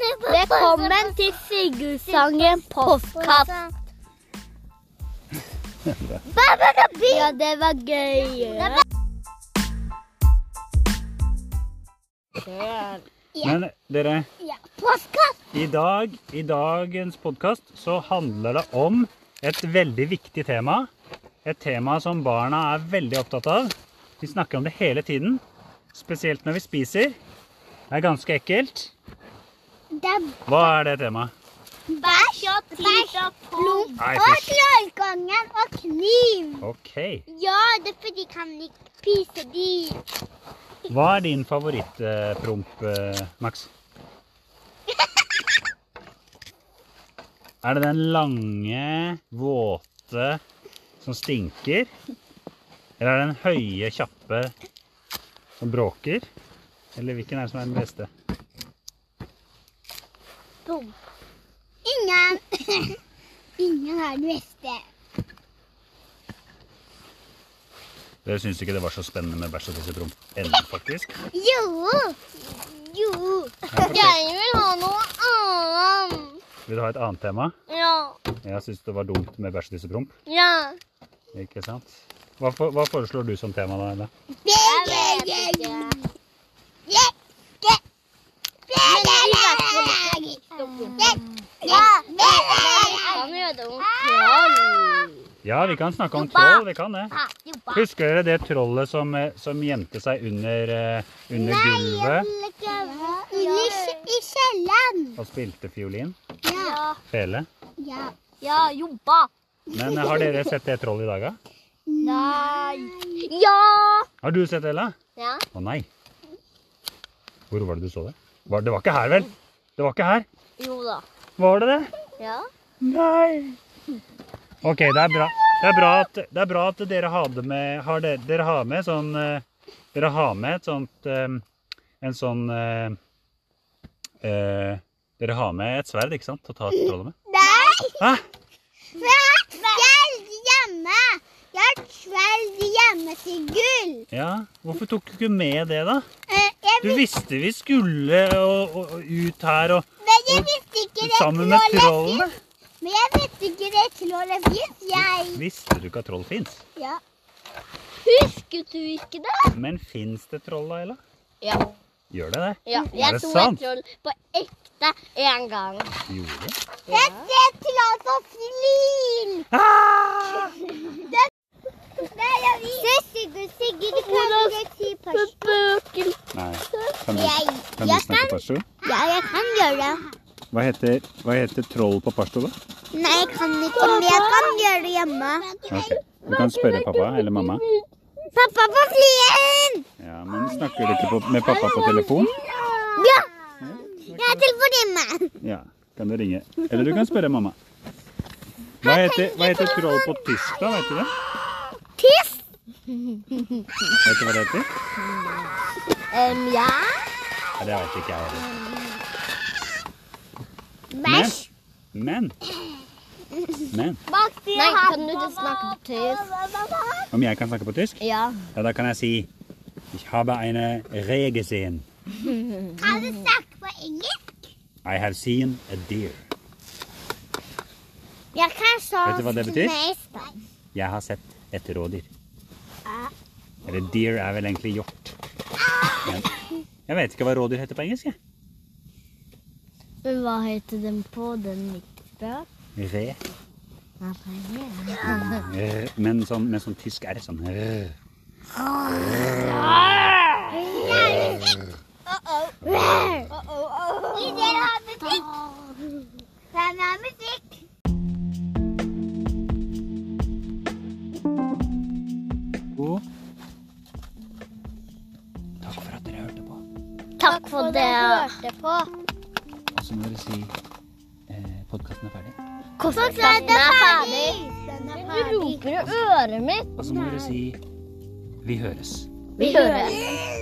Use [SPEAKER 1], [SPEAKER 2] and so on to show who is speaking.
[SPEAKER 1] Velkommen til Sigurdsangen postkast. Ja, det var gøy.
[SPEAKER 2] Men dere,
[SPEAKER 1] Ja, postkast.
[SPEAKER 2] i dag, i dagens podkast så handler det om et veldig viktig tema. Et tema som barna er veldig opptatt av. Vi snakker om det hele tiden. Spesielt når vi spiser. Det er ganske ekkelt.
[SPEAKER 1] Det er
[SPEAKER 2] Hva er det temaet?
[SPEAKER 1] bæsj, bæsj, blod
[SPEAKER 2] Nei,
[SPEAKER 1] og
[SPEAKER 2] fysj.
[SPEAKER 1] trollkongen og kniv.
[SPEAKER 2] OK.
[SPEAKER 1] Ja, det er fordi de kan ikke spise de.
[SPEAKER 2] Hva er din favorittpromp, eh, Max? Er det den lange, våte som stinker? Eller er det den høye, kjappe som bråker? Eller hvilken er det som er den beste?
[SPEAKER 1] Bom. Ingen Ingen er det beste.
[SPEAKER 2] Dere syns ikke det var så spennende med bæsj og tissepromp ennå, faktisk?
[SPEAKER 1] Jo. Jo.
[SPEAKER 2] fortell.
[SPEAKER 1] Jeg vil ha noe annet.
[SPEAKER 2] Vil du ha et annet tema?
[SPEAKER 1] Ja.
[SPEAKER 2] Jeg syns det var dumt med bæsj og tissepromp.
[SPEAKER 1] Ja.
[SPEAKER 2] Ikke sant? Hva, for, hva foreslår du som tema, da? Ella?
[SPEAKER 1] Jeg vet ikke. Men jeg vil i hvert fall ikke snakke om det. Han gjør det om troll.
[SPEAKER 2] Ja, vi kan snakke om
[SPEAKER 1] Jobba!
[SPEAKER 2] troll. Vi kan det.
[SPEAKER 1] Jobba.
[SPEAKER 2] Husker dere det trollet som, eh, som gjemte seg under, eh, under gulvet
[SPEAKER 1] I kjelleren.
[SPEAKER 2] og spilte fiolin?
[SPEAKER 1] Ja.
[SPEAKER 2] Fele.
[SPEAKER 1] Ja. Ja, jobba.
[SPEAKER 2] Men eh, har dere sett det trollet i dag, da?
[SPEAKER 1] Nei. Ja.
[SPEAKER 2] Har du sett det, Ella?
[SPEAKER 1] Ja.
[SPEAKER 2] Å nei. Hvor var det du så det? Var, det var ikke her, vel? Det var ikke her.
[SPEAKER 1] Jo da.
[SPEAKER 2] Var det det?
[SPEAKER 1] Ja.
[SPEAKER 2] Nei. OK, det er bra. Det er bra at, det er bra at dere har det med har dere, dere har med sånn eh, Dere har med et sånt eh, En sånn eh, eh, Dere har med et sverd, ikke sant? Å ta trollet med.
[SPEAKER 1] Nei,
[SPEAKER 2] Hæ?
[SPEAKER 1] for jeg har et sverd hjemme. Jeg har et sverd hjemme til gull.
[SPEAKER 2] Ja, hvorfor tok du ikke med det, da?
[SPEAKER 1] Eh, Jeg,
[SPEAKER 2] Du visste vi skulle og, og, og ut her og
[SPEAKER 1] men jeg visste ikke det
[SPEAKER 2] sammen med trollene.
[SPEAKER 1] fins. Men jeg visste ikke det trollet fins, jeg.
[SPEAKER 2] Visste du ikke at troll fins?
[SPEAKER 1] Ja. Husket du ikke det?
[SPEAKER 2] Men fins det troll, da, Ella?
[SPEAKER 1] Ja.
[SPEAKER 2] Gjør det det?
[SPEAKER 1] ja.
[SPEAKER 2] Er det sant?
[SPEAKER 1] troll på ekte en gang.
[SPEAKER 2] Gjorde det?
[SPEAKER 1] Jeg ser troll som slim.
[SPEAKER 2] Ah!
[SPEAKER 1] Se, Sigurd, Sigurd, kan du si personen?
[SPEAKER 2] Nei. Kan
[SPEAKER 1] Jeg- kan du jeg snakke kan-
[SPEAKER 2] pashto?
[SPEAKER 1] Ja, jeg kan gjøre det.
[SPEAKER 2] Hva, heter troll på pashto, da?
[SPEAKER 1] Nei, jeg kan ikke, men jeg kan gjøre det hjemme.
[SPEAKER 2] Du kan spørre pappa eller mamma.
[SPEAKER 1] Pappa på flyen!
[SPEAKER 2] Ja, Men snakker du ikke med pappa på telefon?
[SPEAKER 1] Ja! Jeg har telefon hjemme.
[SPEAKER 2] Ja, kan du ringe. Eller du kan spørre mamma. Hva heter, hva heter troll på tysk, da? Vet du det?
[SPEAKER 1] Tiss!
[SPEAKER 2] Vet du hva det heter?
[SPEAKER 1] Um, ja.
[SPEAKER 2] Nei, det vet ikke jeg heller.
[SPEAKER 1] Bæsj.
[SPEAKER 2] Men Men
[SPEAKER 1] Nei, kan du ikke snakke på tysk?
[SPEAKER 2] om jeg kan snakke på tysk,
[SPEAKER 1] Ja.
[SPEAKER 2] ja, da kan jeg si Ich habe eine Rehe gesehen.
[SPEAKER 1] Kan du snakke på engelsk?
[SPEAKER 2] I have seen a deer.
[SPEAKER 1] Jeg kan så
[SPEAKER 2] Vet du hva det betyr?
[SPEAKER 1] kines-
[SPEAKER 2] Jeg har sett et rådyr. Eller deer er vel egentlig hjort. Men Jeg vet ikke hva rådyr heter på engelsk. jeg.
[SPEAKER 3] Men hva heter den på den midt fra?
[SPEAKER 2] Re. Rø. Men sånn, med sånn tysk er det sånn rø.
[SPEAKER 1] Vi dere har musikk. Hvem har musikk?
[SPEAKER 2] Og- Takk for at dere hørte på.
[SPEAKER 3] Takk for det.
[SPEAKER 2] Og så må dere si eh, podkasten er ferdig.
[SPEAKER 1] Den er ferdig.
[SPEAKER 3] Du roper i øret mitt.
[SPEAKER 2] Og så må dere si vi høres.
[SPEAKER 3] Vi høres.